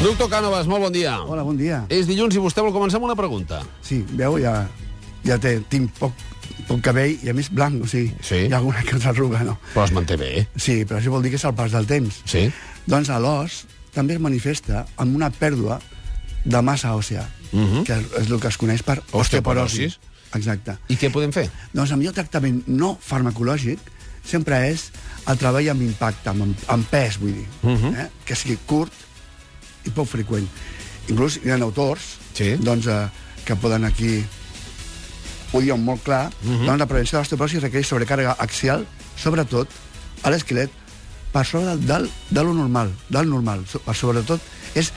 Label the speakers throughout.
Speaker 1: Doctor Cànovas, molt bon dia.
Speaker 2: Hola, bon dia.
Speaker 1: És dilluns i vostè vol començar amb una pregunta.
Speaker 2: Sí, veu, ja, ja té, tinc poc, poc cabell i a més blanc, o sigui,
Speaker 1: Sí.
Speaker 2: hi ha alguna que ens arruga, no?
Speaker 1: Però es manté bé.
Speaker 2: Sí, però això vol dir que és el pas del temps.
Speaker 1: Sí.
Speaker 2: Doncs l'os també es manifesta amb una pèrdua de massa òssea,
Speaker 1: Mhm.
Speaker 2: que és el que es coneix per
Speaker 1: Osteoporosi.
Speaker 2: osteoporosi. Exacte.
Speaker 1: I què podem fer?
Speaker 2: Doncs el millor tractament no farmacològic sempre és el treball amb impacte, amb, amb pes, vull dir, uh
Speaker 1: Mhm.
Speaker 2: -huh. eh? que sigui curt i poc freqüent. Inclús hi ha autors
Speaker 1: Sí.
Speaker 2: doncs, eh, que poden aquí ho diuen molt clar, uh
Speaker 1: Mhm.
Speaker 2: -huh. doncs la prevenció de l'osteoporosi requereix sobrecàrrega axial, sobretot a l'esquelet, per sobre del, del, de lo normal, del normal. So- Per sobretot és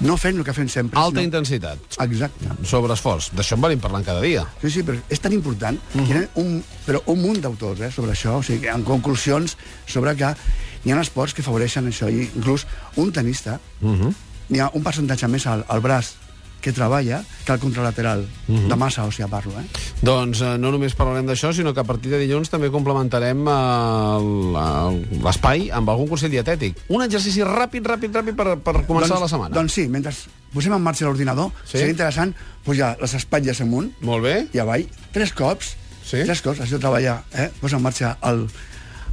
Speaker 2: no fent el que fem sempre.
Speaker 1: Alta
Speaker 2: sinó...
Speaker 1: intensitat.
Speaker 2: Exacte.
Speaker 1: Sobreesforç. D'això en venim parlant cada dia.
Speaker 2: Sí, sí, però és tan important uh -huh. que hi
Speaker 1: Mhm.
Speaker 2: ha un, però un munt d'autors eh, sobre això, o sigui, que en conclusions sobre que hi ha esports que favoreixen això, i inclús un tenista, uh
Speaker 1: Mhm.
Speaker 2: -huh. hi ha un percentatge més al, al braç que treballa que al contralateral, uh
Speaker 1: Mhm.
Speaker 2: -huh. de massa, o sigui, parlo, eh?
Speaker 1: Doncs eh, no només parlarem d'això, sinó que a partir de dilluns també complementarem eh, el- l'espai amb algun consell dietètic. Un exercici ràpid, ràpid, ràpid per, per començar
Speaker 2: doncs,
Speaker 1: la setmana.
Speaker 2: Doncs sí, mentre posem en marxa l'ordinador,
Speaker 1: Sí.
Speaker 2: sí. seria interessant pujar les espatlles amunt
Speaker 1: Molt bé.
Speaker 2: i avall, tres cops,
Speaker 1: Sí.
Speaker 2: tres cops, això treballa, eh? posa en marxa el,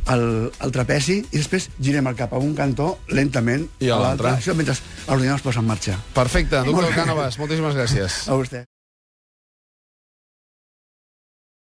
Speaker 2: el, el trapeci i després girem el cap a un cantó lentament
Speaker 1: I a l'altre.
Speaker 2: Això mentre l'ordinador es posa en marxa.
Speaker 1: Perfecte,
Speaker 2: Molt
Speaker 1: doctor
Speaker 2: bé.
Speaker 1: Cànovas, moltíssimes gràcies.
Speaker 2: A vostè.